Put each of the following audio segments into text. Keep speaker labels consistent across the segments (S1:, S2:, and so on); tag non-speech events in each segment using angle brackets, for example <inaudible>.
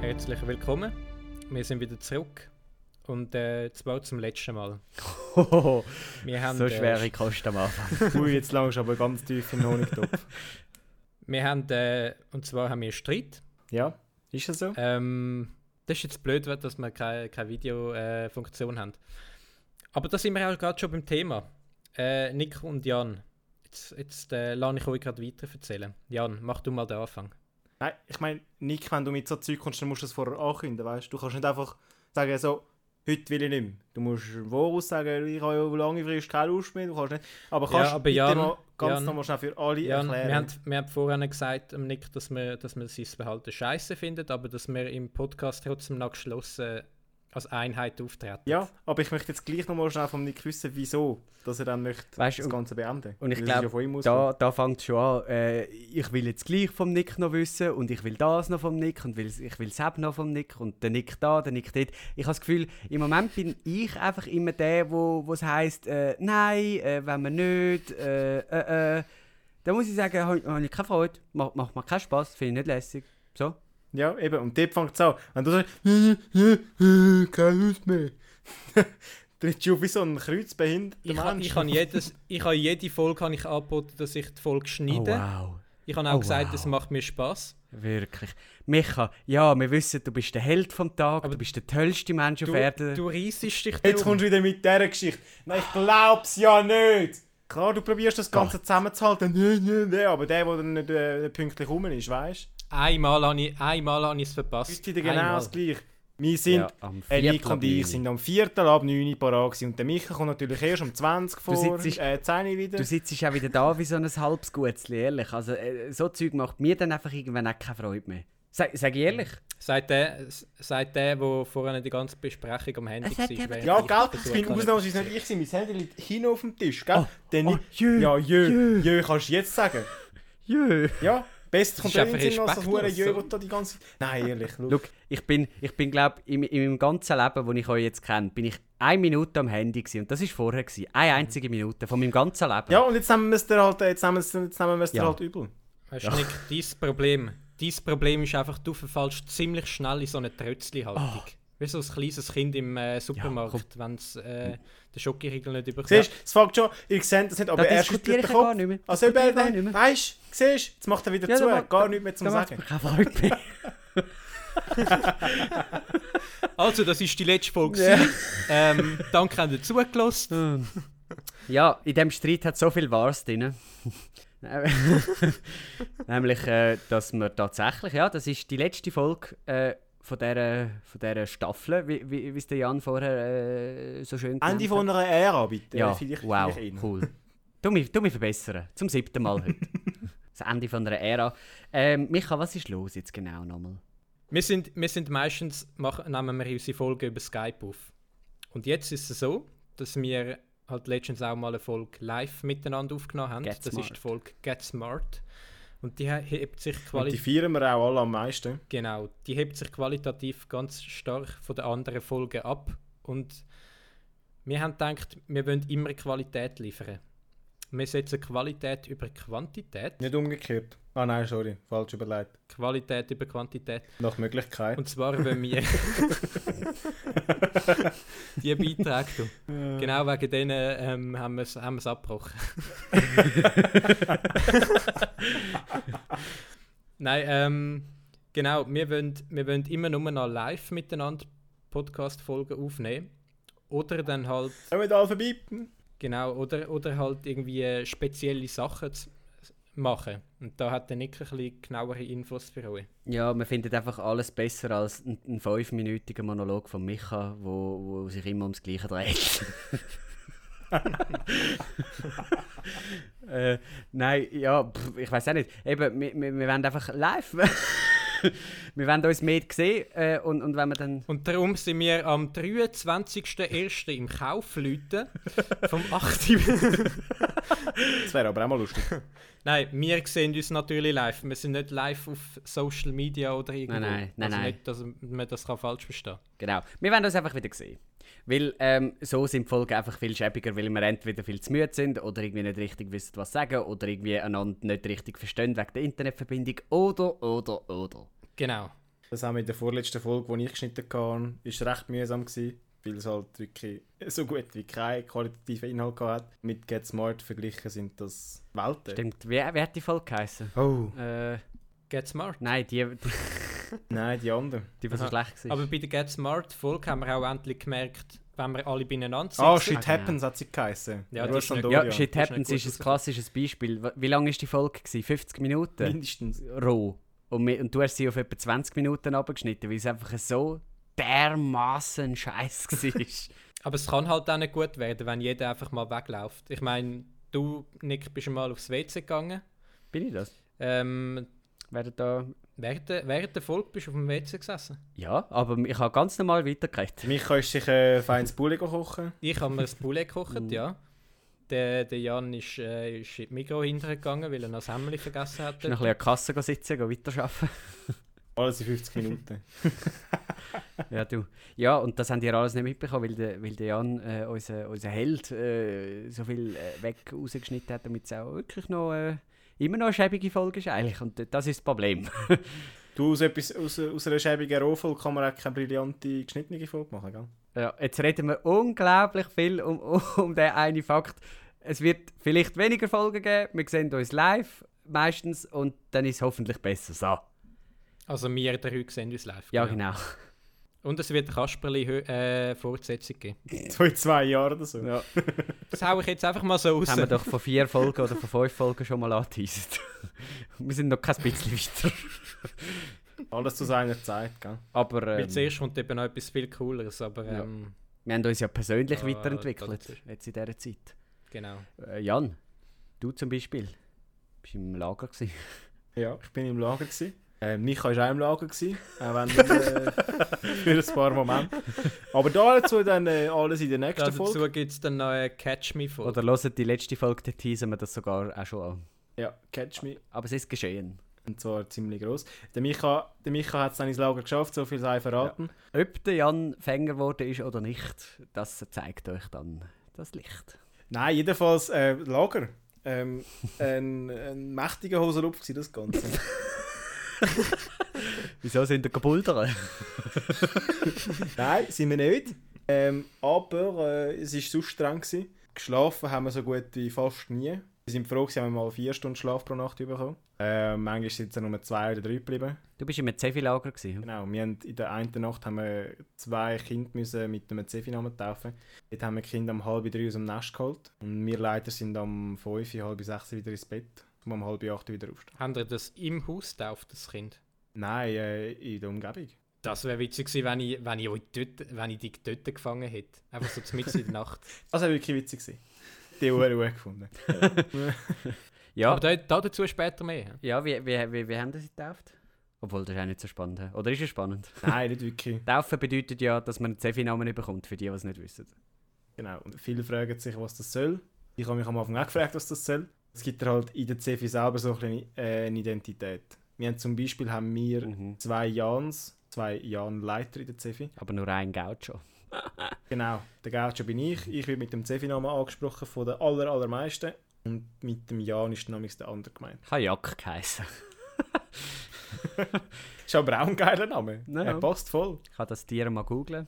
S1: Herzlich willkommen. Wir sind wieder zurück und äh, zwar zum letzten Mal.
S2: Hohoho,
S1: Wir haben,
S2: <laughs> so
S1: äh,
S2: schwere Kosten am Anfang.
S3: <laughs> Ui, jetzt langst du aber ganz tief im
S2: <laughs>
S3: Honigtopf.
S1: wir haben äh, und zwar haben wir einen Streit.
S3: Ja, ist das so?
S1: Ähm, das ist jetzt blöd, weil- dass wir keine, keine Videofunktion äh, haben. Aber da sind wir auch gerade schon beim Thema. Äh, Nico und Jan. Jetzt, jetzt äh, lasse ich euch gerade weiter erzählen. Jan, mach du mal den Anfang.
S3: Nein, ich meine, Nick, wenn du mit so Zeug kommst, dann musst du es vorher ankündigen, weißt du? Du kannst nicht einfach sagen, so, heute will ich nicht mehr. Du musst woraus sagen, ich habe ja lange Frist keine Lust mehr, du kannst nicht. Aber
S1: Ja,
S3: kannst
S1: aber
S3: du bitte
S1: Jan,
S3: mal ganz
S1: Jan,
S3: nochmal schnell für alle
S1: Jan,
S3: erklären.
S1: wir haben, wir haben vorhin gesagt, ähm, Nick, dass wir, dass wir sein Verhalten scheiße findet, aber dass wir im Podcast trotzdem noch geschlossen als Einheit auftreten.
S3: ja, aber ich möchte jetzt gleich nochmal schnell von Nick wissen, wieso, dass er dann möchte
S2: Weißt du,
S3: das Ganze beenden.
S2: und ich
S3: Weil es
S2: glaub,
S3: ist ja von ihm ausgegangen.
S2: Da, da fängt schon an, äh, ich will jetzt gleich vom Nick noch wissen und ich will das noch vom Nick und will, ich will das noch vom Nick und der Nick da, der Nick dort. Ich habe das Gefühl, im Moment bin ich einfach immer der, wo wo es heisst, äh, nein, äh, wenn man nicht, äh, äh, äh. Da muss ich sagen, habe hab ich keine Freude, macht, macht mir keinen Spass, finde ich nicht lässig. So.
S3: Ja, eben, und dort fängt es an. Wenn du sagst, <laughs> keine Lust mehr. Trittst du auf wie so ein kreuzbehinderter
S1: Ich, ha-
S3: Mensch.
S1: ich habe jedes, ich habe jede Folge habe ich angeboten, dass ich die Folge schneide.
S2: Oh, wow.
S1: Ich habe auch
S2: Oh,
S1: gesagt,
S2: wow.
S1: das macht mir Spaß.
S2: Wirklich. Micha, ja, wir wissen, du bist der Held vom Tag,
S1: Aber
S2: du bist der tollste Mensch
S1: Du,
S2: auf Erden.
S1: du reissest dich
S3: Jetzt
S1: darum.
S3: kommst du wieder mit dieser Geschichte. Nein, ich glaub's ja nicht. Klar, du probierst das Ganze zusammenzuhalten. Nö, nö, nö. Aber der, der dann nicht äh, pünktlich rum ist, weißt du?
S1: Einmal habe ich, einmal habe ich es verpasst.
S3: Ist wieder genau
S1: Einmal.
S3: das Gleiche. Wir sind,
S2: Ja, am
S3: äh, Nick
S2: Viertel ab
S3: und ich,
S2: neun.
S3: sind am 4. ab 9 Uhr parat gewesen. Und der Micha kommt natürlich erst um 20 vor,
S2: sitzt-
S3: äh, 10 Uhr wieder.
S2: Du sitzt auch wieder da wie so ein halbes Gutzli, ehrlich. Also, äh, so Zeug macht mir dann einfach irgendwann auch keine Freude mehr. Sag, sag ich ehrlich.
S1: Seit der, seit der, wo vorhin die ganze Besprechung am Handy
S2: Es hat
S1: war.
S2: eben-
S1: während
S3: ja,
S1: ich
S3: gell? Ich
S1: versucht
S3: bin
S1: habe,
S3: ausnahmsweise nicht ich. gewesen. Mein Handy liegt hin auf dem Tisch, gell?
S2: Oh,
S3: Der
S2: oh,
S3: Nick-
S2: jö,
S3: ja, jö,
S2: jö.
S3: jö, kannst du jetzt sagen.
S2: Jö.
S3: Ja, best kommt
S1: ist einfach
S3: irgendwie noch so
S1: respektlos,
S3: hure Jö,
S1: so.
S3: wo du da die ganze. Nein, ehrlich, schau.
S2: Schau, ich bin, ich bin glaube in, in meinem ganzen Leben, das ich euch jetzt kenne, bin ich eine Minute am Handy gewesen. Und das war vorher. Gewesen. Eine einzige Minute von meinem ganzen Leben.
S3: Ja, und jetzt nehmen wir es dir halt, jetzt nehmen wir es, jetzt nehmen wir es dir
S2: Ja.
S3: halt übel.
S1: Weißt du, Nick, dein Problem, dein Problem ist einfach, du verfallst ziemlich schnell in so eine Trötzli-Haltung.
S3: Oh.
S1: Wie so ein kleines Kind im äh, Supermarkt, wenn es äh, den Schokoriegel nicht überkommt.
S3: Siehst du, es fängt schon, ihr seht das nicht, aber
S2: Da
S3: er
S2: diskutiere
S3: schüttelt den
S2: ich
S3: Kopf.
S2: gar nicht mehr.
S3: Also ob er
S2: Diskutiere ich gar
S3: dann,
S2: nicht mehr.
S3: weißt du, siehst du, jetzt macht er wieder
S2: Ja,
S3: zu,
S2: da macht-
S3: gar nichts mehr zum
S2: da macht's
S3: Sagen.
S2: mir keine Freude mehr.
S1: Also, das ist die letzte Folge.
S2: Ja.
S1: gewesen. Ähm, danke, habt ihr zugelassen.
S2: Ähm, ja, in diesem Streit hat so viel Wahres drin. <laughs> Nein, Nämlich, äh, dass wir tatsächlich, ja, das ist die letzte Folge äh, von, dieser, von dieser Staffel, wie, wie wie es der Jan vorher äh, so schön
S3: Ende
S2: genannt
S3: von einer Ära, bitte.
S2: ja,
S3: vielleicht,
S2: wow,
S3: vielleicht ihn.
S2: cool. Du mich, du mich verbessern, zum siebten Mal
S3: <laughs>
S2: heute. das Ende von einer Ära. Ähm, Micha, was ist los jetzt genau nochmal?
S1: Wir sind, wir sind meistens, machen, nehmen wir unsere Folgen über Skype auf. Und jetzt ist es so, dass wir halt letztens auch mal eine Folge live miteinander aufgenommen haben.
S2: Get
S1: das ist
S2: Smart.
S1: die Folge Get Smart. Und die he- hebt sich
S3: Und
S1: qualitativ.
S3: die feiern wir auch alle am meisten.
S1: Genau, die hebt sich qualitativ ganz stark von den anderen Folgen ab. Und wir haben gedacht, wir wollen immer Qualität liefern. Wir setzen Qualität über Quantität.
S3: Nicht umgekehrt. Ah nein, sorry, falsch überlegt.
S1: Qualität über Quantität.
S3: Nach Möglichkeit.
S1: Und zwar, wenn wir die Beiträge tun. Genau wegen denen ähm, haben wir es haben wir's abgebrochen. Nein, ähm, genau, wir wollen, wir wollen immer nur noch live miteinander Podcast-Folgen aufnehmen. Oder dann halt,
S3: Kommen wir alle vorbei.
S1: genau, oder, oder halt irgendwie spezielle Sachen zu machen. Und da hat der Nick ein bisschen genauere Infos für euch.
S2: Ja, man findet einfach alles besser als ein, ein fünfminütiger Monolog von Micha, wo, wo sich immer ums Gleiche dreht. <laughs> äh, nein, ja, pff, ich weiß auch nicht. Eben, wir, wir, wir wollen einfach live. <laughs> wir wollen uns mehr sehen äh, und, und wenn wir dann.
S1: Und darum sind wir am 23.01. im
S2: <laughs>
S1: Kaufleuten vom 8.
S3: Das wäre aber auch mal lustig.
S1: <laughs> nein, wir sehen uns natürlich live. Wir sind nicht live auf Social Media oder irgendwo.
S2: nein, nein,
S1: also
S2: nein.
S1: nicht, dass man das kann falsch verstehen
S2: Genau. Wir werden uns einfach wieder sehen. Weil ähm, so sind die Folgen einfach viel schäbiger, weil wir entweder viel zu müde sind oder irgendwie nicht richtig wissen, was sagen oder irgendwie einander nicht richtig verstehen wegen der Internetverbindung oder, oder, oder.
S1: Genau.
S3: Das auch mit der vorletzten Folge, die ich geschnitten habe, war recht mühsam, gewesen, weil es halt wirklich so gut wie keinen qualitativen Inhalt gehabt hat. Mit Get Smart verglichen sind das Welten.
S2: Stimmt. Wer, wer hat die Folge geheißen?
S3: Oh.
S2: Äh,
S1: Get Smart.
S2: nein, die, <laughs> die,
S3: Nein, die anderen.
S2: die, die so
S1: Aha.
S2: schlecht war.
S1: Aber bei der Get Smart Folge haben wir auch endlich gemerkt, wenn wir alle beieinander
S3: Ah,
S1: sitzen-
S3: Shit
S2: Ah, genau.
S3: Happens hat sie geheißen.
S1: Ja, die
S3: Ruhe
S1: ist nicht-
S3: Sandoria.
S2: ja, Shit
S1: Das ist
S2: Happens
S1: nicht
S2: ist ein
S1: gut
S2: klassisches Beispiel. Wie- Wie lange war die Folge? gewesen? 50 Minuten?
S3: Mindestens.
S2: Roh. Und, mi- und du hast sie auf etwa 20 Minuten abgeschnitten, weil es einfach so dermaßen scheiß
S1: <laughs>
S2: war.
S1: Aber es kann halt auch nicht gut werden, wenn jeder einfach mal wegläuft. Ich meine, du, Nick, bist mal aufs WC gegangen.
S2: Bin ich das?
S1: Ähm,
S2: Werden da...
S1: während, der- während der Folge bist du auf dem WC gesessen.
S2: Ja, aber ich habe ganz normal weitergeredet.
S3: Mich kannst du sicher feines äh, Bulli kochen.
S1: Ich habe mir ein Poulet
S2: Mm.
S1: gekocht, ja. Der, der Jan ist, äh, ist in die Migros hintergegangen, weil er noch das Hemmli vergessen
S2: Ich bin noch
S1: hatte.
S2: ein bisschen an die Kasse gehen sitzen, gehen weiterarbeiten.
S3: Alles in 50 Minuten.
S2: Ja, du. Ja, und das haben die alles nicht mitbekommen, weil der, weil der Jan, äh, unser, unser Held, äh, so viel äh, weg rausgeschnitten hat, damit es auch wirklich noch äh, immer noch eine schäbige Folge ist eigentlich. Und äh, das ist das Problem. <laughs>
S3: Du, aus, etwas, aus, aus einer schäbigen Rohfolge kann man auch keine brillante geschnittene Folge machen, gell?
S2: Ja, jetzt reden wir unglaublich viel um, <laughs> um den einen Fakt. Es wird vielleicht weniger Folgen geben, wir sehen uns live meistens und dann ist es hoffentlich besser so.
S1: Also wir drei sehen uns live.
S2: Ja, genau.
S1: Und es wird Kasperli hö- äh, Fortsetzung geben.
S3: So in zwei Jahren oder so.
S2: Ja.
S1: Das hau ich jetzt einfach mal so raus.
S2: Das haben wir doch vor vier Folgen oder vor fünf Folgen schon mal angeteasert. <laughs> wir sind noch kein bisschen weiter.
S3: Alles zu seiner Zeit, gell?
S2: Aber
S1: Weil
S2: ähm,
S1: zuerst kommt eben noch etwas viel Cooleres, aber
S2: Ja.
S1: ähm,
S2: wir haben uns ja persönlich
S1: Ja, Ah, das
S2: weiterentwickelt,
S1: ist-
S2: jetzt in dieser Zeit.
S1: genau.
S2: Äh, Jan, du zum Beispiel, bist im Lager gewesen.
S3: Ja, ich bin im Lager. Gewesen. Äh, Micha war auch im Lager, gewesen, auch wenn wir, äh, für ein paar Momente. Aber dazu dann äh, alles in der nächsten Folge.
S1: Dazu gibt es dann noch eine Catch Me Folge.
S2: Oder hört die letzte Folge, dann teasen wir das sogar auch schon an.
S3: Ja, Catch Me.
S2: Aber es ist geschehen.
S3: Und zwar ziemlich gross. Der Micha, der Micha hat es dann ins Lager geschafft, so viel sei verraten.
S2: Ob der Jan Fänger geworden ist oder nicht, das zeigt euch dann das Licht.
S3: Nein, jedenfalls äh, Lager. Ähm, ein, ein mächtiger Hosenlupf war das Ganze.
S2: Wieso sind ihr gebuldert?
S3: Nein, sind wir nicht. Ähm, aber äh, es war so streng. Gewesen. Geschlafen haben wir so gut wie fast nie. Wir sind froh, gewesen, haben wir mal vier Stunden Schlaf pro Nacht bekommen. Ähm, manchmal sind es dann nur zwei oder drei geblieben.
S2: Du bist im Zevi-Lager gewesen.
S3: Genau, wir haben in der einen Nacht haben wir zwei Kinder müssen mit einem Zefi-Namen taufen. Dort haben wir die Kinder um halb drei aus dem Nest geholt. Und wir Leiter sind am fünf, halb sechs wieder ins Bett. Und um halb acht wieder aufstehen.
S1: Haben ihr das im Haus getauft, das Kind?
S3: Nein, äh, in der Umgebung.
S1: Das wäre witzig gewesen, wenn ich, wenn, ich euch dort, wenn ich dich dort gefangen hätte. Einfach so mitten in der Nacht.
S3: Das Also, war wirklich witzig. gewesen. Die Uhr Ruhe gefunden.
S2: <laughs> Ja,
S1: Aber da, da dazu später mehr.
S2: ja wie, wie, wie, wie haben sie getauft? Obwohl, das ist auch nicht so spannend. hä? Oder ist es spannend?
S3: Nein, nicht wirklich.
S2: Taufen bedeutet ja, dass man einen Zevi-Namen nicht bekommt, für die, die es nicht wissen.
S3: Genau, und viele fragen sich, was das soll. Ich habe mich am Anfang auch gefragt, was das soll. Es gibt dir halt in der CFI selber so ein bisschen, äh, eine Identität. Wir haben zum Beispiel haben wir
S2: Mhm.
S3: zwei Jans, zwei Jan-Leiter in der CFI.
S2: Aber nur ein Gaucho.
S3: Genau, der Gaucho bin ich. Ich werde mit dem CFI-Namen angesprochen von den aller, allermeisten. Und mit dem Jan ist namens der andere gemeint.
S2: Kajak geheissen.
S3: Ist aber auch ein geiler Name.
S2: Ja.
S3: Er passt voll.
S2: Ich kann das Tier mal googeln.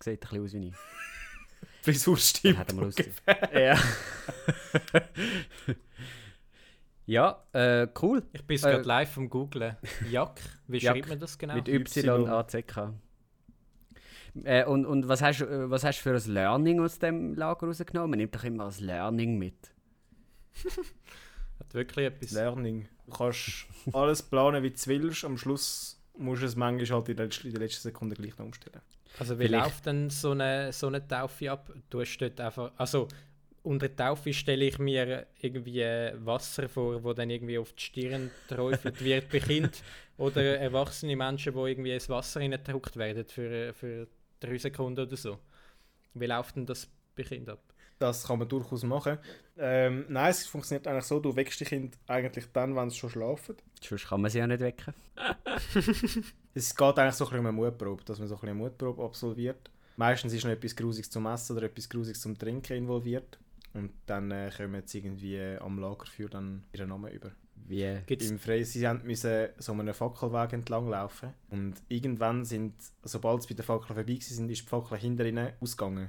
S2: Sieht ein bisschen aus wie ich.
S3: Die Frisur
S2: Dann
S3: stimmt.
S2: hat er mal ausgesehen. Ja. <laughs> ja, äh, cool.
S1: Ich bin jetzt
S2: Äh,
S1: gerade live am Googlen. Jack, wie
S2: Jack.
S1: schreibt man das genau?
S2: Mit Y-A-C-K. Äh, und und was, hast, äh, was hast du für ein Learning aus dem Lager rausgenommen? Man nimmt doch immer ein Learning mit.
S1: Hat wirklich etwas.
S3: Learning. Du kannst alles planen, wie du willst. Am Schluss musst du es manchmal halt in der letzten in der letzten Sekunde gleich noch umstellen.
S1: Also wie
S2: Vielleicht.
S1: läuft denn so eine, so eine Taufe ab? Du hast dort einfach, also unter Taufe stelle ich mir irgendwie Wasser vor, wo dann irgendwie auf die Stirn träufelt wird bei
S2: <laughs>
S1: Kind oder erwachsene Menschen, wo irgendwie ins Wasser reingedrückt werden für, für drei Sekunden oder so. Wie läuft denn das bei Kind ab?
S3: Das kann man durchaus machen. Ähm, nein, es funktioniert eigentlich so, du weckst die Kinder eigentlich dann, wenn sie schon schlafen.
S2: Sonst kann man sie ja nicht wecken.
S3: Es geht eigentlich so ein bisschen um eine Mutprobe, dass man so ein bisschen eine Mutprobe absolviert. Meistens ist noch etwas Grusiges zum Essen oder etwas Grusiges zum Trinken involviert. Und dann äh, kommen jetzt irgendwie am Lagerfeuer dann ihren Namen über.
S2: Wie?
S1: Gibt's,
S3: Im Freisinn müssen so einen Fackelweg entlang laufen. Und irgendwann sind, sobald sie bei der Fackel vorbei waren, ist die Fackel hinter ihnen ausgegangen.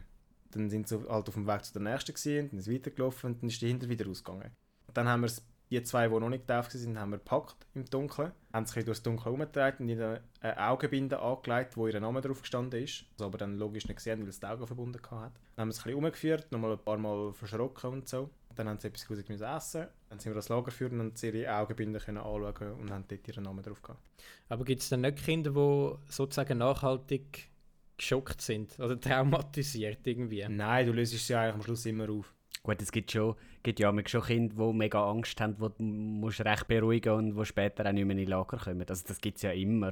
S3: Dann sind sie halt auf dem Weg zu der nächsten gewesen, dann ist es weitergelaufen und dann ist die hinter wieder ausgegangen. Und dann haben wir es- die zwei, die noch nicht getauft waren, haben wir gepackt im Dunkeln, haben sich durchs Dunkel herumgetragen und ihnen eine Augenbinde angelegt, wo ihr Name drauf gestanden ist, was aber dann logisch nicht gesehen, weil es die Augen verbunden hatte. Dann haben wir es ein bisschen herumgeführt, nochmal ein paar Mal verschrocken und so. Dann haben sie etwas Grusiges müssen essen. Dann sind wir ans Lager geführt und haben sie ihre Augenbinden können anschauen und haben dort ihren Namen drauf gehabt.
S1: aber gibt es dann nicht Kinder, die sozusagen nachhaltig geschockt sind oder traumatisiert irgendwie?
S3: Nein, du löst sie ja eigentlich am Schluss immer auf.
S2: Gut, es gibt schon, gibt ja manchmal schon Kinder, die mega Angst haben, die du musst recht beruhigen und die später auch nicht mehr in Lager kommen. Also das gibt es ja immer.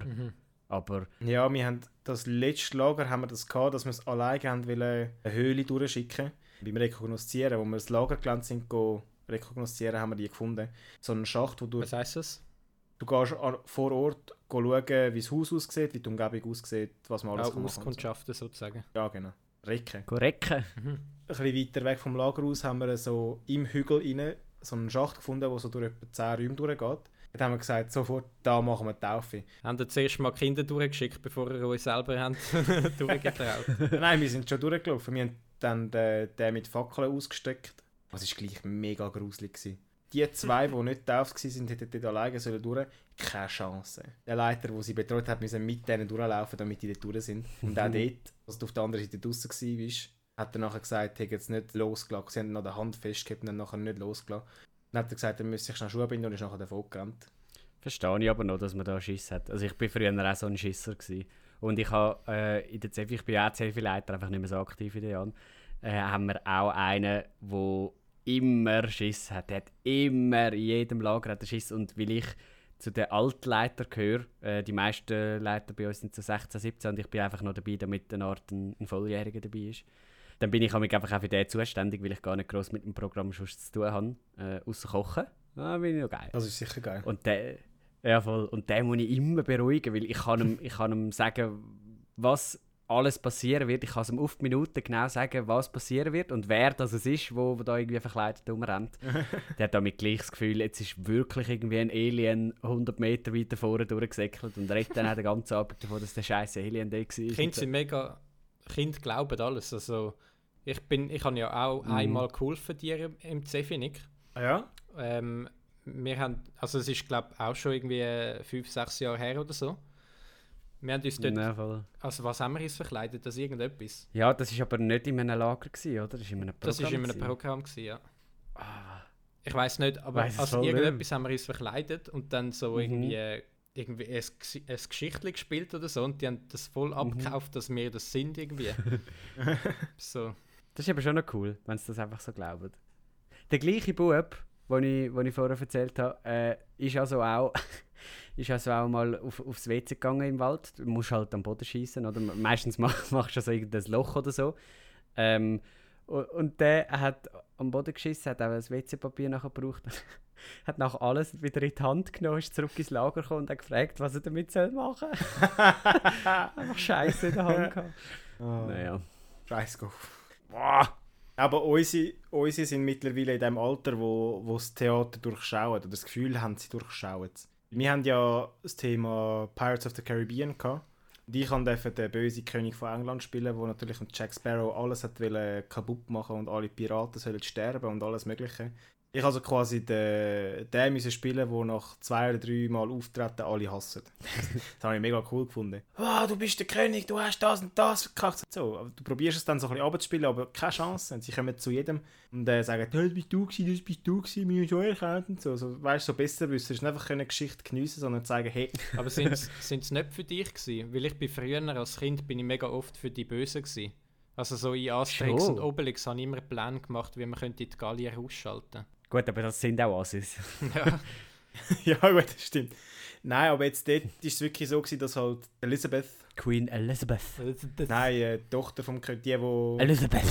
S2: Aber
S3: Ja, wir haben das letzte Lager haben wir das gehabt, dass wir es alleine haben wollen, eine Höhle durchschicken. Beim Rekognoszieren, wo wir das Lagergelände sind, go rekognoszieren, haben wir die gefunden. So einen Schacht, wo du,
S1: Was heißt das?
S3: du gehst an, vor Ort go schauen, wie das Haus aussieht, wie die Umgebung aussieht, was man alles
S1: Auch
S3: kann machen und so.
S1: Auskundschaften sozusagen.
S3: Ja, genau. Recken.
S2: korrekt.
S3: Ein bisschen weiter weg vom Lager aus haben wir so im Hügel rein so einen Schacht gefunden, der so durch etwa 10 Räume durchgeht. Dann haben wir gesagt, sofort, da machen wir die Taufe.
S1: Haben ihr zuerst mal Kinder durchgeschickt, bevor ihr euch selber habt <laughs>
S3: <laughs>
S1: durchgetraut?
S3: Nein, wir sind schon durchgelaufen. Wir haben dann den, den mit Fackeln ausgesteckt. Das war gleich mega gruselig. Gewesen. Die zwei, die nicht getauft waren, hätten dort alleine sollen durch. Keine Chance. Der Leiter, der sie betreut hat, musste mit denen durchlaufen, damit die dort durch sind. Und auch dort, als du auf der anderen Seite draußen warst, hat er nachher gesagt, hey, jetzt nicht losgelassen. Sie haben ihn noch die Hand festgehalten und haben nachher nicht losgelassen. Dann hat er gesagt, er müsse sich schnell Schuhe binden und ist nachher davon gerannt.
S2: Verstehe ich aber noch, dass man da Schiss hat. Also ich war früher auch so ein Schisser. Gewesen. Und ich habe äh, in der CEF, ich bin auch CEF-Leiter, einfach nicht mehr so aktiv in den Jahren, äh, haben wir auch einen, der immer Schiss hat. Der hat immer in jedem Lager hat er Schiss. Und weil ich zu den Altleitern gehöre, äh, die meisten Leiter bei uns sind so 16, 17 und ich bin einfach noch dabei, damit eine Art ein, ein Volljähriger dabei ist. Dann bin ich manchmal einfach auch für den zuständig, weil ich gar nicht gross mit dem Programm sonst zu tun habe, äh, außer Kochen. Ah, bin ich noch geil.
S3: Das ist sicher geil.
S2: Und der, ja voll, und den muss ich immer beruhigen, weil ich kann ihm, ich kann ihm sagen, was alles passieren wird. Ich kann es ihm auf die Minute genau sagen, was passieren wird und wer das es ist, wo, wo da irgendwie verkleidet
S1: <laughs>
S2: rumrennt. der hat damit gleich das Gefühl, jetzt ist wirklich irgendwie ein Alien 100 Meter weiter vorne durchgesäckelt und redet dann auch den ganzen Abend davon, dass der scheiß Alien da war.
S1: Kinder sind mega. Kinder glauben alles. Also, ich bin, ich habe ja auch
S3: Mhm.
S1: einmal geholfen dir im- im Zefinik.
S3: Ah ja?
S1: Ähm, wir haben, also es ist glaube auch schon irgendwie äh, fünf, sechs Jahre her oder so. Wir haben uns dort,
S2: Ja, voll.
S1: also was haben wir uns verkleidet, das irgendetwas.
S2: ja, das war aber nicht in einem Lager, gewesen, oder? Das war in einem Programm.
S1: Das ist in einem
S2: gewesen.
S1: Programm gewesen, ja. Ich weiß nicht, aber
S2: Ah. Weiss es
S1: also
S2: voll nicht.
S1: irgendetwas haben wir uns verkleidet und dann so
S2: Mhm.
S1: irgendwie, äh, irgendwie ein, Gsi- ein Geschichtli gespielt oder so und die haben das
S2: Mhm.
S1: voll abgekauft, dass wir das sind irgendwie.
S2: <laughs>
S1: so.
S2: Das ist aber schon noch cool, wenn sie das einfach so glauben. Der gleiche Bub, den ich, den ich vorher erzählt habe, äh, ist also auch, <laughs> ist also auch mal auf, aufs WC gegangen im Wald. Du musst halt am Boden schießen oder meistens mach, <laughs> machst du so irgendein Loch oder so. Ähm, und, und der hat am Boden geschissen, hat auch das WC-Papier nachher gebraucht. <laughs> hat nach alles wieder in die Hand genommen, ist zurück ins Lager gekommen und hat gefragt, was er damit soll machen soll. Einfach Scheiße in der Hand gehabt.
S3: Oh.
S2: Naja.
S3: Scheiß Golf. Aber unsere, unsere sind mittlerweile in dem Alter, wo, wo das Theater durchschauen oder das Gefühl haben, sie durchschauen es. Wir haben ja das Thema Pirates of the Caribbean gehabt. Und ich durfte den bösen König von England spielen, der natürlich mit Jack Sparrow alles hat wollen kaputt machen und alle Piraten sollen sterben und alles Mögliche. Ich also quasi den, den müssen spielen, der nach zwei oder drei Mal auftreten alle <laughs> hassen. Das habe ich mega cool gefunden. Wow, Ah, du bist der König, du hast das und das verkackt. So, aber du probierst es dann so ein bisschen abzuspielen, aber keine Chance. Und sie kommen zu jedem und äh, sagen, hey, das bist du gewesen, das bist du gewesen, wir haben schon erkannt. Und so, so, weißt du, so besser wissen, ist nicht einfach eine Geschichte geniessen, sondern zeigen, hey, <laughs>
S1: Aber sind es nicht für dich gewesen? Weil ich bin früher als Kind bin ich mega oft für die Bösen gewesen. Also so in Asterix
S2: Schon?
S1: und Obelix habe ich immer Pläne gemacht, wie man könnte die Gallier ausschalten
S2: Gut, aber das sind auch Assis.
S1: Ja,
S3: ja gut, das stimmt. Nein, aber jetzt dort ist es wirklich so gewesen, dass halt Elizabeth,
S2: Queen Elizabeth.
S3: nein, äh, die Tochter vom König, die, wo...
S2: Elizabeth.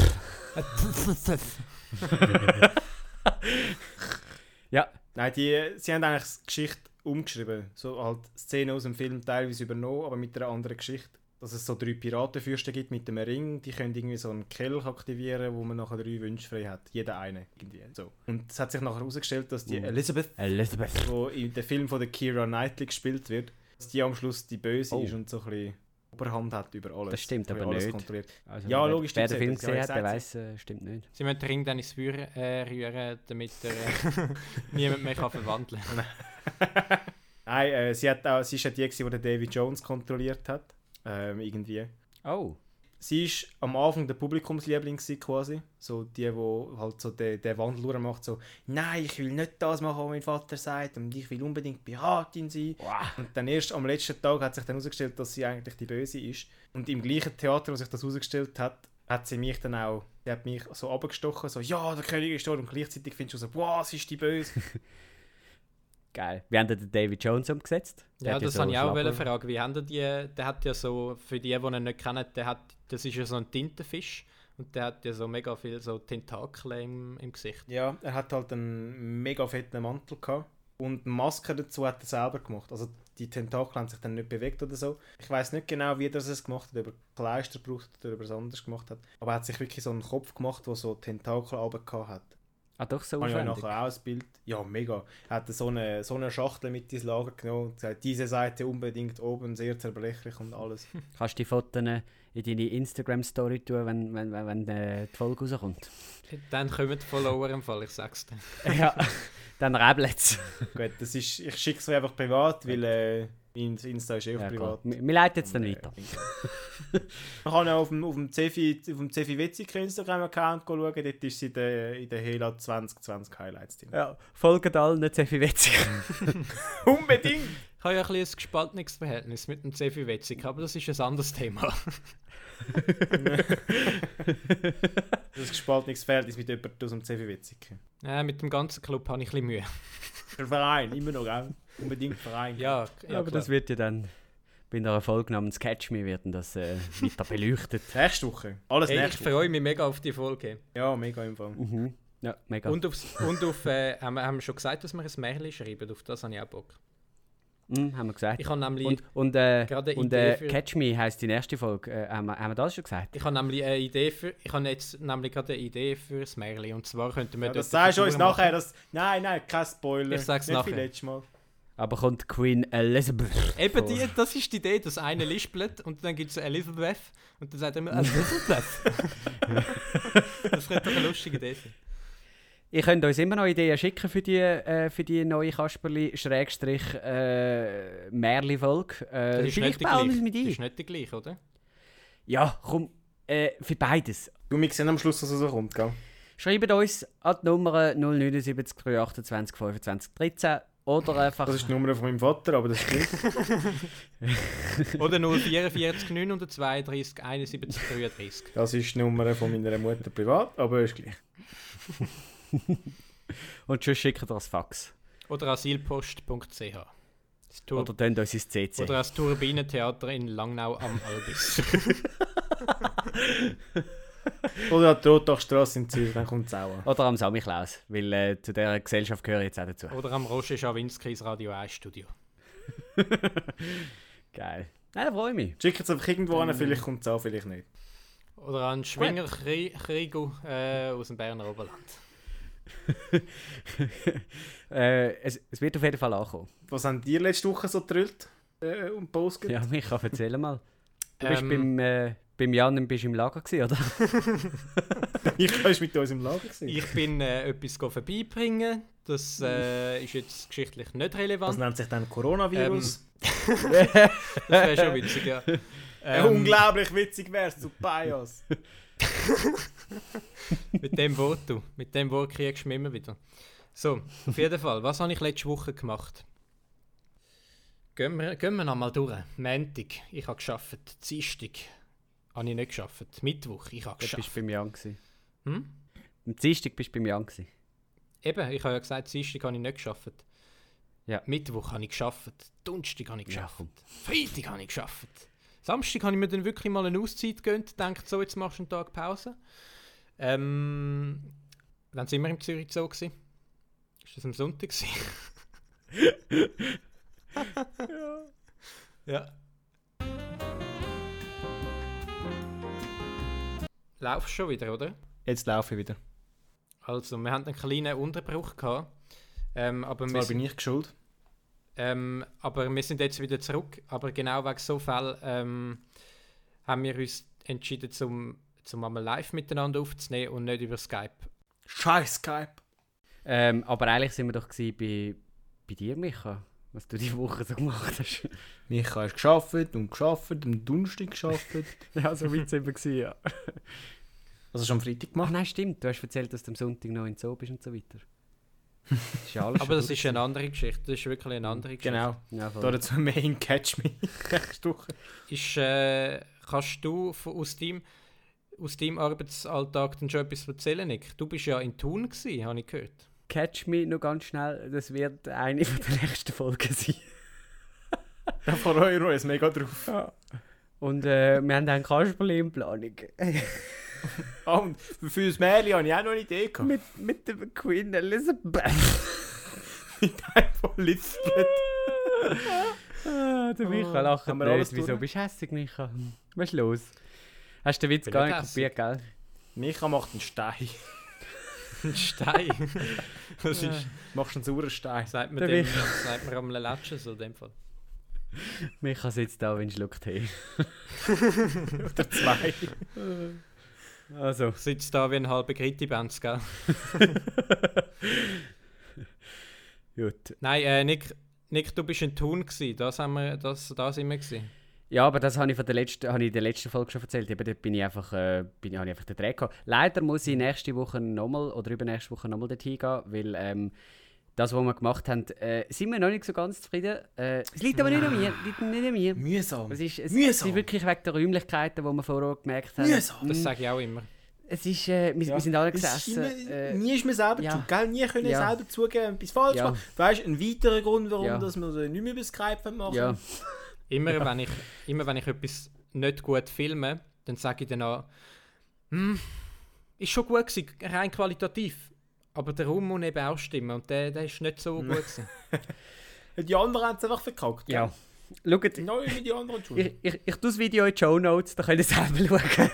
S2: ja,
S3: Nein, die, sie haben eigentlich die Geschichte umgeschrieben. So halt Szenen aus dem Film teilweise übernommen, aber mit einer anderen Geschichte. dass es so drei Piratenfürsten gibt mit dem Ring, die können irgendwie so einen Kelch aktivieren, wo man nachher drei Wünsche frei hat. Jeder eine. Irgendwie. So. Und es hat sich nachher herausgestellt, dass die
S2: Uh.
S3: Elizabeth,
S2: Elizabeth.
S3: wo in dem Film von der Kira Knightley gespielt wird, dass die am Schluss die Böse
S2: Oh.
S3: ist und so ein bisschen Oberhand hat über alles.
S2: Das stimmt
S3: Ein bisschen
S2: aber
S3: alles
S2: nicht.
S3: Kontrolliert.
S2: Also,
S3: Ja,
S2: wer-
S3: logisch,
S2: Wer
S3: die
S2: den Film
S3: gesagt, ja,
S2: gesehen hat,
S3: gesagt.
S2: der weiß, äh, stimmt nicht.
S1: Sie müssen den Ring dann ins Feuer äh, rühren, damit er <laughs> äh, niemand mehr kann verwandeln kann.
S3: Nein, äh, sie, hat auch, sie ist ja die, gewesen, die den David Jones kontrolliert hat. Ähm, irgendwie.
S2: Oh.
S3: Sie ist am Anfang der Publikumsliebling gewesen, quasi. So die, wo halt so den, den Wandel macht, so «Nein, ich will nicht das machen, was mein Vater sagt und ich will unbedingt Piratin sein». Und dann erst am letzten Tag hat sich dann herausgestellt, dass sie eigentlich die Böse ist. Und im gleichen Theater, wo sich das herausgestellt hat, hat sie mich dann auch, sie hat mich so abgestochen, so «Ja, der König ist tot» und gleichzeitig findest du so «Wow, sie ist die Böse».
S2: Geil. Wie haben denn den David Jones umgesetzt? Der
S1: Ja,
S2: hat ja
S1: das
S2: so
S1: habe ich auch
S2: Schnabel.
S1: wollen fragen. Wie haben die, der hat ja so, für die, die ihn nicht kennen, der hat, das ist ja so ein Tintenfisch und der hat ja so mega viel so Tentakel im, im Gesicht.
S3: Ja, er hat halt einen mega fetten Mantel gehabt. Und die Maske dazu hat er selber gemacht. Also die Tentakel haben sich dann nicht bewegt oder so. Ich weiß nicht genau, wie er es gemacht hat, ob er Kleister gebraucht hat oder ob er es anders gemacht hat. Aber er hat sich wirklich so einen Kopf gemacht, der so Tentakel runtergehauen hat.
S2: Ah, doch, so
S3: Habe ich euch
S2: aufwendig.
S3: nachher auch ein Bild. Ja, mega. Er hat so eine, so eine Schachtel mit ins Lager genommen und gesagt, diese Seite unbedingt oben, sehr zerbrechlich und
S2: <laughs>
S3: alles.
S2: Kannst du die Fotos in deine Instagram-Story tun, wenn, wenn, wenn, wenn äh, die Folge rauskommt?
S1: Dann kommen die Follower im Fall, ich sag's <laughs> dir.
S2: <laughs> ja, dann rebelt's.
S3: Gut, das ist, ich schicke es einfach privat, weil äh, mein Insta ist eh auf
S2: Ja,
S3: privat.
S2: klar. wir wir leiten jetzt dann
S3: Und, äh,
S2: weiter.
S3: Man kann auch auf dem, auf dem Cefi, auf dem Cefi Witzig Instagram-Account schauen, dort ist sie in der, in der Hela 2020 Highlights drin.
S2: Ja, folgt allen, nicht sehr viel witzig.
S3: Unbedingt!
S1: Ich habe ja ein bisschen ein gespaltenes Verhältnis mit dem Zefi Wetzig, aber das ist ein anderes Thema. <laughs>
S3: Das gespaltenes Verhältnis mit jemandem aus dem Cefi Witzig.
S1: Äh, mit dem ganzen Club habe ich ein bisschen Mühe.
S3: Der Verein, immer noch, gell? Unbedingt Verein.
S1: Ja, ja
S2: Aber
S1: klar.
S2: das wird ja dann bei einer Folge namens Catch Me werden das äh, weiter beleuchtet.
S3: Nächste Woche. Alles
S1: Ey, ich
S3: nächste Woche.
S1: freue mich mega auf die Folge.
S3: Ja, mega im Fall.
S2: <laughs> Mhm. Ja, mega.
S1: Und, aufs, und auf, äh, haben, wir, haben wir schon gesagt, dass wir ein Märchen schreiben? Auf das habe ich auch Bock.
S2: Mhm, haben wir gesagt.
S1: Ich habe nämlich,
S2: und und, äh,
S1: gerade
S2: und
S1: Idee
S2: äh,
S1: für-
S2: Catch Me heisst die nächste Folge. Äh, haben, wir, haben wir das schon gesagt?
S1: ich habe nämlich eine Idee für, ich habe jetzt nämlich gerade eine Idee für das Märchen. Und zwar könnten wir
S3: Ja, das
S1: dort eine
S3: sagst du uns
S1: Figur
S3: nachher. Das, nein, nein, kein Spoiler.
S1: Ich sag's
S3: Nicht
S1: nachher.
S3: wie letztes Mal.
S2: Aber kommt Queen Elizabeth.
S1: machen. Eben, die, das ist die Idee, dass einer lispelt und dann gibt es Elizabeth und dann sagt er
S2: <laughs>
S1: immer Elizabeth. das könnte doch eine lustige Idee sein.
S2: Äh, Ihr könnt uns immer noch Ideen schicken für die, äh, für die neue Kasperli-Merli-Folge. Äh, vielleicht bauen wir es mit
S1: Das ist
S2: ein.
S1: nicht die gleiche, oder?
S2: Ja, komm, äh, für beides.
S3: Du, wir sehen am Schluss, dass es so kommt, gell?
S2: Schreibt uns an die Nummer 079 328 25 13
S1: <laughs>
S2: oder einfach.
S3: Das ist die Nummer von meinem Vater, aber das stimmt.
S1: Oder 044 932 71 33.
S3: Das ist die Nummer von meiner Mutter privat, aber ist gleich.
S2: Und schon schickt ihr das Fax.
S1: Oder asilpost.ch. Das Tur-
S2: Oder tönt uns ins CC.
S1: Oder das Turbinentheater in Langnau am Albis.
S3: Oder an die Rotachstrasse in Zürich, dann kommt es auch an.
S2: Oder am Samichlaus, weil äh, zu dieser Gesellschaft gehöre ich jetzt auch dazu.
S1: <laughs> Oder am Roger Schawinskis Radio 1 Studio.
S2: Geil. Nein, da freue ich mich.
S3: Schickt es einfach irgendwo an, vielleicht kommt es an, vielleicht nicht.
S1: Oder an Schwinger Kri- Krigo äh, aus dem Berner Oberland.
S2: <laughs> äh, es, es wird auf jeden Fall ankommen.
S3: Was haben die letzte Woche so gedrillt äh, und postet?
S2: Ja, Micha, erzähl mal. Du bist
S1: Ähm.
S2: beim, äh, beim Jan und bist im Lager gewesen, oder?
S3: <laughs> Ich war mit uns im Lager. Gewesen.
S1: Ich bin äh, etwas go vorbeibringen. Das äh, ist jetzt geschichtlich nicht
S3: Das
S1: relevant.
S3: nennt sich dann Coronavirus.
S1: Das wäre schon witzig, ja.
S3: Äh,
S1: Ähm,
S3: Unglaublich witzig wär's, zu Bios.
S1: mit dem Wort, du. Mit dem Wort kriegst du mich immer wieder. So, auf jeden Fall. Was habe ich letzte Woche gemacht? Gehen wir, gehen wir noch mal durch. Montag, ich habe geschafft. Dienstag habe ich nicht geschafft. Mittwoch, ich habe
S2: Du
S1: geschafft.
S2: bist beim Jan gewesen.
S1: Hm?
S2: Am Dienstag bist du beim Jan gewesen.
S1: Eben, ich habe ja gesagt, Dienstag habe ich nicht geschafft.
S2: Ja.
S1: Mittwoch habe ich geschafft. Donnerstag habe ich
S2: Ja,
S1: geschafft.
S2: komm.
S1: Freitag habe ich geschafft. Samstag habe ich mir dann wirklich mal eine Auszeit gegönnt. Gedacht, so, jetzt machst du einen Tag Pause. Ähm, wann sind wir in Zürich so gewesen? Ist das am Sonntag
S2: <laughs>
S1: gewesen? ja. ja. laufst schon wieder, oder?
S3: Jetzt laufe ich wieder.
S1: Also, wir hatten einen kleinen Unterbruch gehabt. Ähm, aber, wir
S3: Zwar
S1: sind,
S3: bin ich schuld.
S1: ähm, aber wir sind jetzt wieder zurück. Aber genau wegen so Fällen ähm, haben wir uns entschieden, zum, zum einmal live miteinander aufzunehmen und nicht über Skype.
S3: Scheiß Skype.
S2: Ähm, aber eigentlich sind wir doch gewesen bei, bei dir, Micha, was du die Woche so gemacht hast.
S3: Micha ist geschafft und geschafft, am Donnerstag <laughs> geschafft.
S2: <laughs> ja, so weit sind wir gewesen, ja.
S3: Also schon am Freitag
S2: Ach
S3: gemacht.
S2: nein, stimmt. Du hast erzählt, dass du am Sonntag noch in den Zoo bist und so weiter. Das <laughs> ist äh, ja alles
S1: Aber
S2: schon
S1: das
S2: durch.
S1: ist eine andere Geschichte. Das ist wirklich eine andere Geschichte.
S3: Genau.
S2: Ja, voll.
S3: Dazu mehr in Catch <laughs> Me. nächste Woche.
S1: Ist, äh, kannst du von- aus deinem, aus deinem Arbeitsalltag dann schon etwas erzählen, Nick? Du bist ja in Thun, gewesen, habe ich gehört.
S2: Catch Me noch ganz schnell. Das wird eine von der nächsten Folgen sein.
S3: Da freue ich mich jetzt mega drauf.
S2: Und äh, wir haben dann Kasperli
S3: <laughs>
S2: in Planung.
S3: Ah, und für das Mädchen habe ich auch noch eine Idee gehabt. <laughs>
S2: mit, mit dem Queen Elizabeth.
S3: Einfach <laughs> lispelt.
S2: ah, der Micha
S3: Oh,
S2: lacht
S3: haben wir
S2: nicht.
S3: alles
S2: Wieso
S3: durch?
S2: bist du hässig, Micha? Was ist los? Hast du den Witz
S1: Bin
S2: gar
S1: nicht
S2: nicht
S1: hässig.
S2: kapiert, gell?
S3: Micha macht einen Stein.
S1: Ein Stein. das ist,
S3: Machst einen sauren Stein.
S1: sagt man
S2: Der
S1: dem,
S2: Mich-
S1: sagt man am Latschen so in dem Fall.
S2: Micha sitzt da, wenn Schluck Tee.
S3: Oder zwei.
S2: Also.
S1: Sitzt da wie ein halber Gritti-Benz, gell?
S2: Gut.
S1: Nein, äh, Nick, Nick, du bist in Thun gewesen. Das haben wir, das, da sind wir gewesen.
S2: Ja, aber das habe ich, von der letzten, habe ich in der letzten Folge schon erzählt. Eben, dort bin ich einfach, äh, bin, habe ich einfach den Dreh gehabt. Leider muss ich nächste Woche nochmal oder übernächste Woche nochmal dorthin gehen, weil ähm, das, was wir gemacht haben, äh, sind wir noch nicht so ganz zufrieden. Äh, Es liegt aber nicht an mir. Liegt nicht an mir.
S3: Mühsam.
S2: Es ist, es, es
S3: Mühsam.
S2: ist wirklich wegen der Räumlichkeiten, die wir vorher gemerkt haben.
S3: Mühsam.
S1: Das
S2: Mm,
S1: sage ich auch immer.
S2: Es ist, äh, wir, wir sind alle gesessen. äh,
S3: nie ist mir selber
S2: ja.
S3: schuld, gell? Nie können
S2: Ja.
S3: selber zugeben, etwas falsch
S2: Ja.
S3: machen. Weißt du, ein weiterer Grund, warum
S2: Ja.
S3: dass wir so nicht mehr über Skype machen.
S2: ja.
S1: Immer, wenn ich, immer wenn ich etwas nicht gut filme, dann sage ich dann auch, hm, ist schon gut gewesen, rein qualitativ. Aber der Raum muss eben auch stimmen und der, der ist nicht so gut
S3: Mm. <laughs>
S1: gewesen.
S3: Die anderen haben es einfach verkackt.
S2: ja. Schaut,
S3: Neu mit die anderen
S2: <laughs>
S3: schuld.
S2: ich, ich, ich tue das Video in die Show Notes, da könnt ihr selber <laughs> schauen.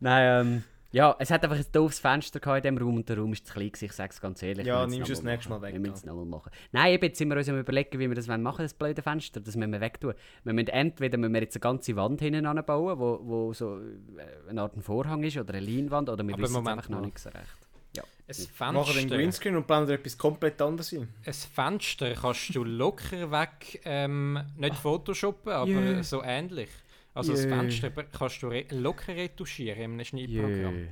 S2: Nein, ähm, ja, es hat einfach ein doofes Fenster gehabt in diesem Raum und der Raum war zu klein, gewesen, ich sage es ganz ehrlich.
S3: Ja,
S2: Wir müssen
S3: nimmst du das
S2: nochmal
S3: nächste Mal
S2: machen.
S3: weg,
S2: Wir müssen
S3: ja.
S2: es nochmal machen. Nein, eben, jetzt sind wir uns am überlegen, wie wir das machen wollen, das blöde Fenster. Das müssen wir wegtun. Wir müssen entweder müssen wir jetzt eine ganze Wand hinten anbauen, wo, wo so äh, eine Art ein Vorhang ist oder eine Leinwand, oder wir
S1: Aber
S2: wissen es
S1: Moment
S2: einfach noch
S1: mal.
S2: nicht so recht.
S1: Ein
S3: Machen den
S1: Fenster,
S3: Greenscreen und planen etwas komplett anderes ein.
S1: ein Fenster kannst du locker weg, ähm, nicht
S3: Ah.
S1: photoshoppen, aber
S2: Jö.
S1: so ähnlich. Also
S2: Jö.
S1: das Fenster be- kannst du re locker retuschieren in einem Schneidprogramm.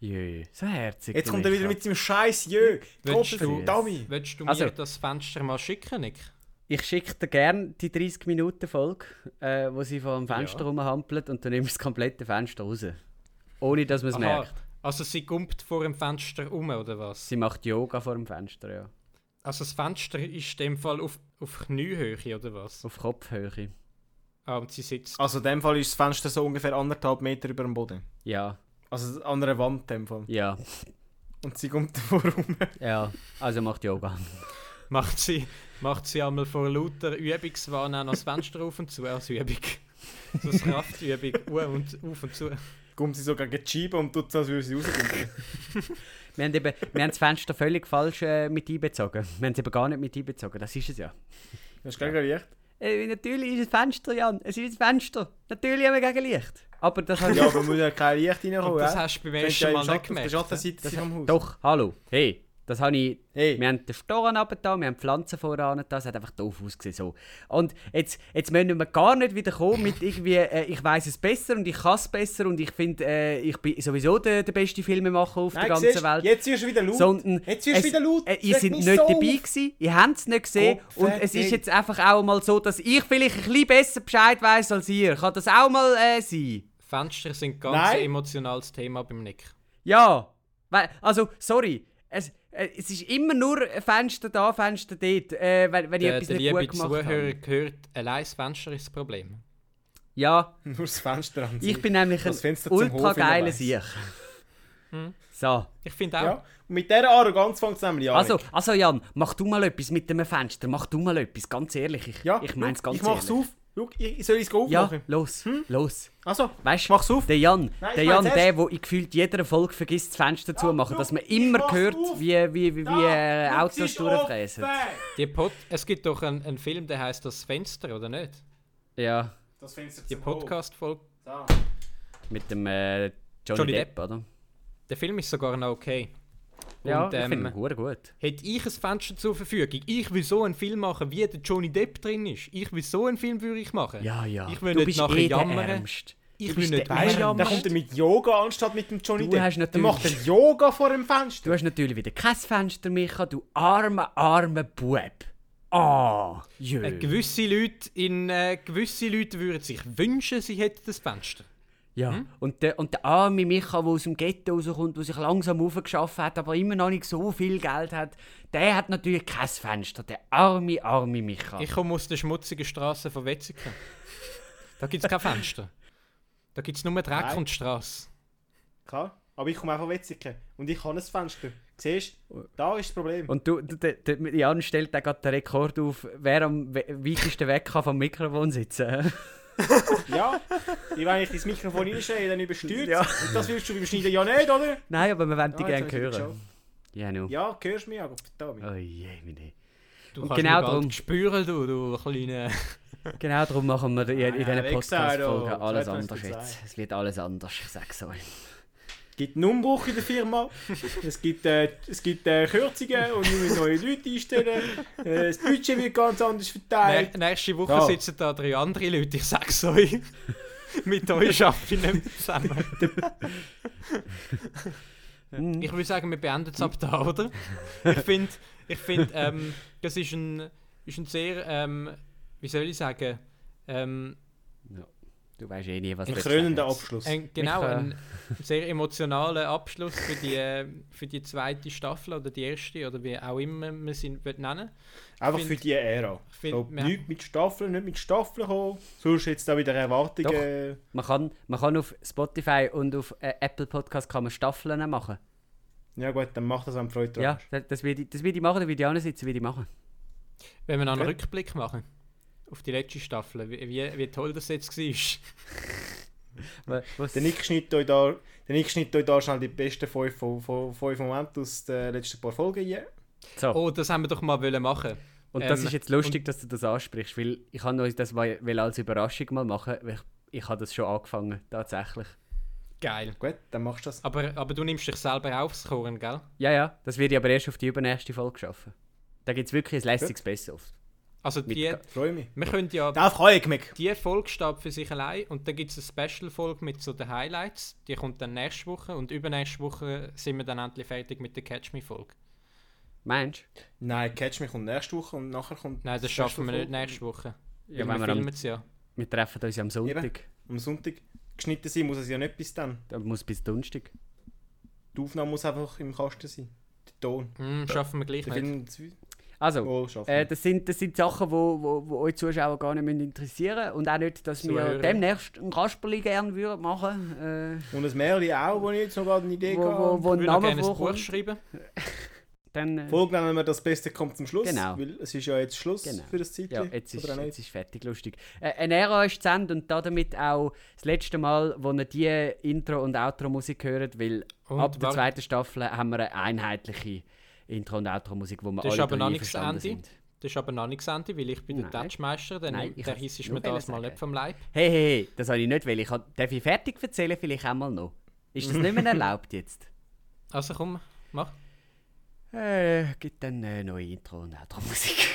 S2: Jö. So herzig.
S3: Jetzt
S2: du
S3: kommt er wieder
S2: Micha.
S3: mit seinem scheiß Jö.
S1: Willst
S3: Doppel-
S1: du-
S3: Dummy.
S1: Willst du
S2: Also-
S1: mir das Fenster mal schicken, Nick?
S2: Ich schicke dir gerne die 30 Minuten Folge, äh, wo sie vor dem Fenster
S1: Ja.
S2: rumhampelt und du nimmst das komplette Fenster raus. Ohne dass man es merkt.
S1: Also sie gumpt vor dem Fenster um, oder was?
S2: Sie macht Yoga vor dem Fenster, ja.
S1: Also das Fenster ist in dem Fall auf, auf Kniehöhe, oder was?
S2: Auf Kopfhöhe.
S1: Ah, und sie sitzt.
S3: Also in dem Fall ist das Fenster so ungefähr anderthalb Meter über dem Boden.
S2: Ja,
S3: Also an einer Wand in dem Fall.
S2: ja,
S3: Und sie kommt <laughs> davor rum.
S2: ja. Also macht Yoga.
S1: Macht sie, macht sie einmal vor lauter Übungswahn auch noch das Fenster auf und zu als Übung. So eine
S3: <laughs>
S1: Kraftübung, uh und, auf und zu.
S3: Kommt sie so gegen die Scheibe und tut so, als würde sie rauskommen.
S2: Wir haben, eben, wir haben das Fenster völlig falsch äh, mit einbezogen. Wir haben es eben gar nicht mit einbezogen. Das ist es ja.
S3: Hast du gegen Licht?
S2: Äh, natürlich ist es Fenster, Jan. Es ist ein Fenster. Natürlich haben wir Gegenlicht. Aber das habe ich
S3: Ja, aber muss ja kein Licht reinkommen.
S1: Und das
S3: Oh, ja?
S1: hast du beim
S3: Könnt
S1: ersten
S3: ja im
S1: Mal nicht
S3: Schatten- Auf der
S1: gemerkt.
S3: Schattenseite sind am Haus.
S2: Doch, hallo. Hey, das habe ich.
S3: Hey.
S2: Wir haben den Storen runter, wir haben die Pflanzen voran, das hat einfach doof ausgesehen. So. Und jetzt, jetzt müssen wir gar nicht wieder kommen mit irgendwie, äh, ich weiß es besser und ich kann es besser und ich finde, äh, ich bin sowieso der, der beste Filmemacher auf der ganzen
S3: siehst,
S2: Welt.
S3: Jetzt wirst du wieder laut.
S2: Sondern
S3: jetzt wirst du
S2: es-
S3: wieder laut.
S2: Äh, ihr
S3: Reg
S2: seid
S3: mich
S2: nicht
S3: so
S2: dabei
S3: auf.
S2: gewesen, ihr habt es nicht gesehen
S3: Gott
S2: und es ist
S3: verdammt.
S2: jetzt einfach auch mal so, dass ich vielleicht ein bisschen besser Bescheid weiß als ihr. Kann das auch mal äh, sein?
S1: Fenster sind ganz
S3: Nein.
S1: ein emotionales Thema beim Nick.
S2: Ja, weil, also, sorry. Es, äh, es ist immer nur Fenster da, Fenster dort, äh, wenn, wenn ich
S1: Der,
S2: etwas
S1: der
S2: nicht
S1: liebe
S2: gut gemacht
S1: Zuhörer
S2: habe.
S1: hört, allein das Fenster ist das Problem.
S2: Ja,
S3: <laughs> Nur das Fenster an
S2: ich
S3: sich.
S2: bin nämlich ein
S3: Das Fenster zum
S2: ultra
S3: Hof
S2: geiler
S3: in der
S2: Sieg.
S1: Hm.
S2: So.
S1: Ich finde auch.
S3: Ja. Und mit dieser Arroganz fängt es nämlich an.
S2: Also, also Jan, mach du mal etwas mit dem Fenster, mach du mal etwas, ganz ehrlich, ich,
S3: ja,
S2: ich meine es
S3: schau,
S2: ganz
S3: Ich mach's
S2: ehrlich.
S3: auf. Schau, ich soll es
S2: Ja,
S3: aufmachen.
S2: los,
S3: Hm?
S2: los.
S3: Also,
S2: Weißt du,
S3: mach's auf.
S2: der Jan,
S3: Nein,
S2: der
S3: ich mein's
S2: Jan, der, wo in gefühlt jeder Folge vergisst, das Fenster zu machen,
S3: schau,
S2: dass man
S3: ich
S2: immer
S3: mach's
S2: hört,
S3: auf.
S2: wie, wie, wie, wie äh, Autos durchfräsen.
S1: Die Pod es gibt doch einen, einen Film, der heißt Das Fenster, oder nicht?
S2: Ja,
S3: Das Fenster
S1: Die Podcast-Folge.
S3: Da.
S2: mit dem äh, Johnny,
S1: Johnny
S2: Depp, oder?
S1: Der Film ist sogar noch okay.
S2: Ja,
S1: Und,
S2: ich finde
S1: ähm,
S2: ihn verdammt gut.
S1: Hätte ich ein Fenster zur Verfügung, ich will so einen Film machen, wie der Johnny Depp drin ist. Ich will so einen Film würde ich machen.
S2: Ja, ja.
S1: Ich will
S2: du
S1: nicht
S2: bist
S1: nachher
S2: eh der
S1: jammern.
S2: Ärmste.
S1: Ich will
S2: Du bist
S1: nicht
S2: der
S3: Weißt
S1: Weißt
S3: du,
S1: du, Jan,
S3: dann
S2: Ärmste.
S3: kommt er mit Yoga anstatt mit dem Johnny
S2: Du
S3: Depp.
S2: hast
S3: Dann
S2: natürlich-
S3: macht er Yoga vor dem Fenster.
S2: Du hast natürlich wieder kein Fenster, Micha, du armer, armer Bub. Ah, jö.
S1: Äh, gewisse Leute in äh, gewisse Leute würden sich wünschen, sie hätten das Fenster.
S2: Ja. Und, der, und der arme Micha, der aus dem Ghetto rauskommt, der sich langsam aufgeschafft hat, aber immer noch nicht so viel Geld hat, der hat natürlich kein Fenster. Der arme, arme Micha.
S1: Ich komme aus der schmutzigen Straße von Wetzikon. da gibt es kein Fenster. Da gibt es nur Dreck
S3: Nein.
S1: und Straße.
S3: Klar, aber ich komme auch von Wetzigen. Und ich habe ein Fenster. Siehst du, da ist das Problem.
S2: Und du, du, der, der Jan stellt da gerade den Rekord auf, wer am we weitesten weg kann vom Mikrofon sitzen. <laughs>
S3: Ja, ich, wenn ich ins Mikrofon reinschreie, dann überstürzt.
S2: Ja.
S3: Und das willst du beim Schneiden ja nicht, oder?
S2: Nein, aber wir wollen die
S3: Ah, jetzt
S2: gerne
S3: habe ich wieder
S2: hören. Ja, nu.
S3: Ja, hörst du mich, aber da bin ich.
S2: Oh je, meine.
S1: Du
S2: Und
S1: kannst
S2: genau
S1: genau
S2: darum-
S1: darum. spüren, du, du kleine.
S2: Genau darum machen wir in, in
S3: Ah,
S2: diesen
S3: weg sei
S2: Podcast-Folgen
S3: doch.
S2: alles
S3: So hat man's
S2: anders jetzt.
S3: gesagt.
S2: Es wird alles anders, ich sag's euch.
S3: Es gibt einen Umbruch in der Firma, <laughs> es gibt, äh, es gibt äh, Kürzungen und wir müssen neue Leute einstellen. Äh, das Budget wird ganz anders
S1: Nä
S3: verteilt.
S1: nächste Woche
S3: Ja.
S1: sitzen da drei andere Leute, ich <laughs> sag's euch. Mit euch arbeite ich nicht mehr zusammen.
S2: Mhm. Hm.
S1: Ich würde sagen, wir beenden es ab da, oder? Ich finde, ich find, ähm, das ist ein, ist ein sehr, ähm, wie soll ich sagen, ähm,
S2: Du weißt eh nie, was
S3: Ein
S2: du jetzt
S3: krönender
S2: sagst.
S3: Abschluss.
S1: ein, genau,
S2: Micha.
S1: ein sehr emotionaler Abschluss für die, äh, für die zweite Staffel oder die erste oder wie auch immer man sie wird nennen
S3: Einfach
S1: find-
S3: für die Ära.
S1: Ich find,
S3: So,
S1: wir-
S3: nicht mit Staffeln, nicht mit Staffeln kommen. Sonst jetzt da wieder
S2: Doch.
S3: Erwartungen.
S2: Man kann, man kann auf Spotify und auf äh, Apple Podcast kann man Staffeln machen.
S3: Ja gut, dann mach das am Freude dran.
S2: Ja, das, das werde ich, das werd ich machen, da werde ich ansitzen, werde ich machen.
S1: Wenn wir noch einen
S3: Okay.
S1: Rückblick machen auf die letzte Staffel, wie, wie, wie toll das jetzt war.
S2: Wa- Was?
S3: Der Nick schneidet euch da, der Nick schneidet euch da schnell die besten fünf, von- von- fünf Momente aus den letzten paar Folgen hier.
S2: So.
S1: Oh, das haben wir doch mal wollen machen.
S2: Und das
S1: Ähm,
S2: ist jetzt lustig, dass du das ansprichst, weil ich habe euch das mal, will als Überraschung mal machen, weil ich, ich habe das schon angefangen, tatsächlich.
S1: Geil.
S3: Gut, dann machst du das.
S1: Aber, aber du nimmst dich selber aufs Korn, gell?
S2: Ja, ja, das werde ich aber erst auf die übernächste Folge schaffen. Da gibt es wirklich ein lästiges Best-of.
S1: Also
S2: Mit
S1: die,
S2: Ga-
S3: Freue mich.
S1: wir können ja
S3: Darauf freue ich mich.
S1: die Folge steht für sich allein und dann gibt es eine Special-Folge mit so den Highlights. Die kommt dann nächste Woche und übernächste Woche sind wir dann endlich fertig mit der Catch Me-Folge.
S2: Mensch,
S3: Nein, Catch mich kommt nächste Woche und nachher kommt...
S1: Nein, das
S3: Special
S1: schaffen wir nicht
S3: Folge.
S1: nächste Woche. Weil
S2: Ja, wenn
S1: wir
S2: wir am-
S1: filmen es ja.
S2: wir treffen uns ja am Sonntag.
S3: Am Sonntag geschnitten sein muss es ja nicht bis dann.
S2: Da muss bis Donnerstag.
S3: Die Aufnahme muss einfach im Kasten sein. Der Ton.
S1: Hm, schaffen wir gleich
S3: Der
S1: nicht.
S3: Film... zwei-
S2: Also,
S3: Oh, schaffen
S2: Äh,
S3: wir.
S2: das, sind, das sind Sachen, die wo, wo, wo euch Zuschauer gar nicht müssen interessieren und auch nicht, dass wir
S1: Zuhörer.
S2: demnächst ein Kasperli gerne würden machen
S3: Und ein Märchen auch, wo ich jetzt noch gerade eine
S2: äh,
S3: Idee
S2: wo, wo,
S3: habe.
S2: wo
S1: Ich
S2: ein
S1: würde noch
S2: Name
S1: gerne ein Buch
S2: vorkommt.
S1: schreiben.
S2: Dann, äh,
S3: Folge nennen wir «Das Beste kommt zum Schluss»,
S2: Genau.
S3: weil es ist ja jetzt Schluss
S2: Genau.
S3: für das Zeitchen.
S2: ja, jetzt ist,
S3: Oder auch
S2: jetzt
S3: nicht?
S2: ist fertig, lustig. Äh, ein Ära ist zu Ende und damit auch das letzte Mal, wo ihr die Intro- und Outro-Musik hört, weil
S1: Und
S2: ab der
S1: warte.
S2: zweiten Staffel haben wir eine einheitliche Intro- und Outro-Musik, wo wir
S1: Das ist
S2: alle
S1: aber
S2: drei
S1: noch nicht das
S2: einverstanden
S1: Ende.
S2: sind.
S1: Das ist aber noch nicht das Ende, weil ich bin der
S2: Nein.
S1: Touchmeister, der,
S2: Nein,
S1: Nein,
S2: ich
S1: der
S2: hab's
S1: hiess ist
S2: nur
S1: mir das
S2: wollen
S1: mal
S2: sagen.
S1: nicht vom Leib.
S2: Hey, hey, hey, das habe ich nicht, weil ich hab- darf ich fertig erzählen, vielleicht einmal noch. Ist das nicht mehr erlaubt jetzt?
S1: Also komm, mach.
S2: <laughs> Äh, gibt dann äh, neue Intro und Outro-Musik.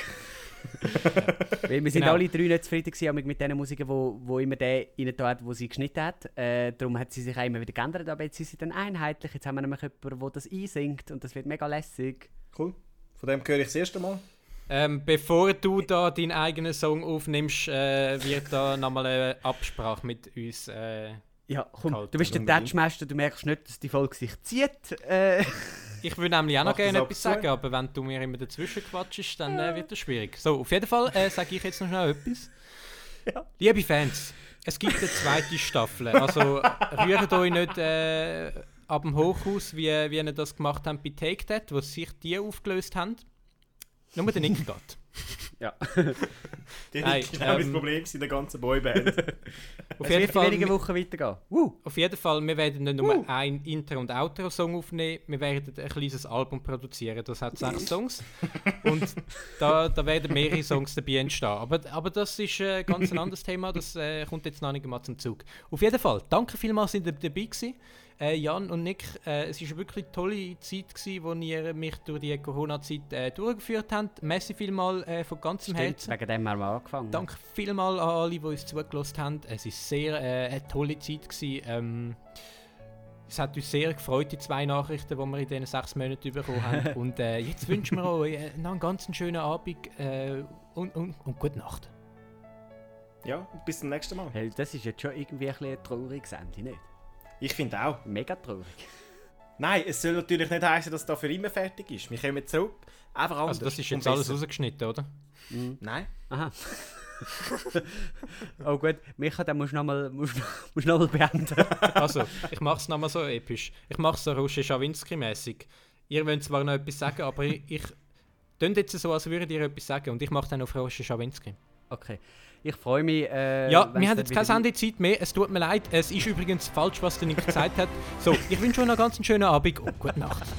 S2: <laughs> Weil wir sind
S1: Genau.
S2: alle drei nicht zufrieden gewesen, aber mit den Musiken, wo, wo immer der rein da hat, wo sie geschnitten hat. Äh, darum hat sie sich auch immer wieder geändert, aber jetzt sind sie dann einheitlich. Jetzt haben wir nämlich jemanden, der das einsingt und das wird mega lässig.
S3: Cool. Von dem höre ich das erste Mal.
S1: Ähm, bevor du da deinen eigenen Song aufnimmst, äh, wird da nochmal eine Absprache mit uns. Äh,
S2: Ja, komm,
S1: Kalt,
S2: du bist der
S3: unbedingt.
S2: Touchmaster, du merkst nicht, dass die Folge sich zieht. Äh,
S1: Ich würde nämlich auch
S3: Mach
S1: noch
S3: das
S1: gerne
S3: ab
S1: etwas
S3: zu.
S1: sagen, aber wenn du mir immer dazwischen quatschst, dann äh, wird das schwierig. So, auf jeden Fall äh, sage ich jetzt noch schnell etwas. Liebe Fans, es gibt eine zweite Staffel. Also rührt euch nicht äh, ab dem Hochhaus, wie, wie ihr das gemacht habt bei Take That, wo sich die aufgelöst haben. Nur der Nick geht.
S2: Ja.
S3: Die
S1: Nein,
S3: ist genau das
S1: ähm,
S3: Problem in der ganzen Boyband.
S1: Auf
S2: <laughs> es wird
S1: jeden,
S2: in
S1: Fall,
S2: wenigen Wochen weitergehen. Woo.
S1: auf jeden Fall, wir werden nicht nur ein Intro- und Outro-Song aufnehmen, wir werden ein kleines Album produzieren, das hat sechs Songs. Und da, da werden mehrere Songs dabei entstehen. Aber, aber das ist äh, ganz ein anderes Thema, das äh, kommt jetzt noch nicht mal zum Zug. Auf jeden Fall, danke vielmals, dass ihr dabei gewesen. Äh, Jan und Nick, äh, es war eine wirklich tolle Zeit, gewesen, wo ihr mich durch die Corona-Zeit äh, durchgeführt habt. Merci vielmals äh, von ganzem Herzen.
S2: Stimmt, wegen dem haben wir angefangen.
S1: Danke vielmals an alle, die uns zugelassen haben. Es war sehr äh, eine tolle Zeit. Gewesen. Ähm, es hat uns sehr gefreut, die zwei Nachrichten, die wir in diesen sechs Monaten bekommen
S3: <laughs>
S1: haben. Und äh, jetzt wünschen wir euch äh, noch einen ganz schönen Abend äh, und, und, und gute Nacht.
S3: <laughs> ja, bis zum nächsten Mal.
S2: Hey, das ist jetzt schon irgendwie ein bisschen ein trauriges Ende, nicht?
S3: Ich finde auch.
S2: Mega traurig.
S3: Nein, es soll natürlich nicht heißen, dass da für immer fertig ist. Wir kommen zurück. Einfach anders.
S1: Also das ist
S3: und
S1: jetzt alles
S3: besser.
S1: rausgeschnitten, oder? Mhm.
S3: Nein.
S2: Aha. <laughs> oh gut, Micha, dann musst du nochmal <laughs> musst, noch- musst noch mal
S1: <laughs>
S2: beenden.
S1: Also, ich mache es nochmal so episch. Ich mache es so Roger Schawinski-mäßig. Ihr wollt zwar noch etwas sagen, aber ich... ich Tönt jetzt so, als würdet ihr etwas sagen und ich mache dann auf Roger Schawinski.
S2: Okay. Ich freue mich. Äh,
S1: Ja,
S2: wenn's
S1: wir haben
S2: dann
S1: jetzt keine
S2: wieder-
S1: Sendezeit mehr. Es tut mir leid. Es ist übrigens falsch, was der Nick gesagt hat. So, ich wünsche euch noch ganz einen schönen Abend und gute Nacht.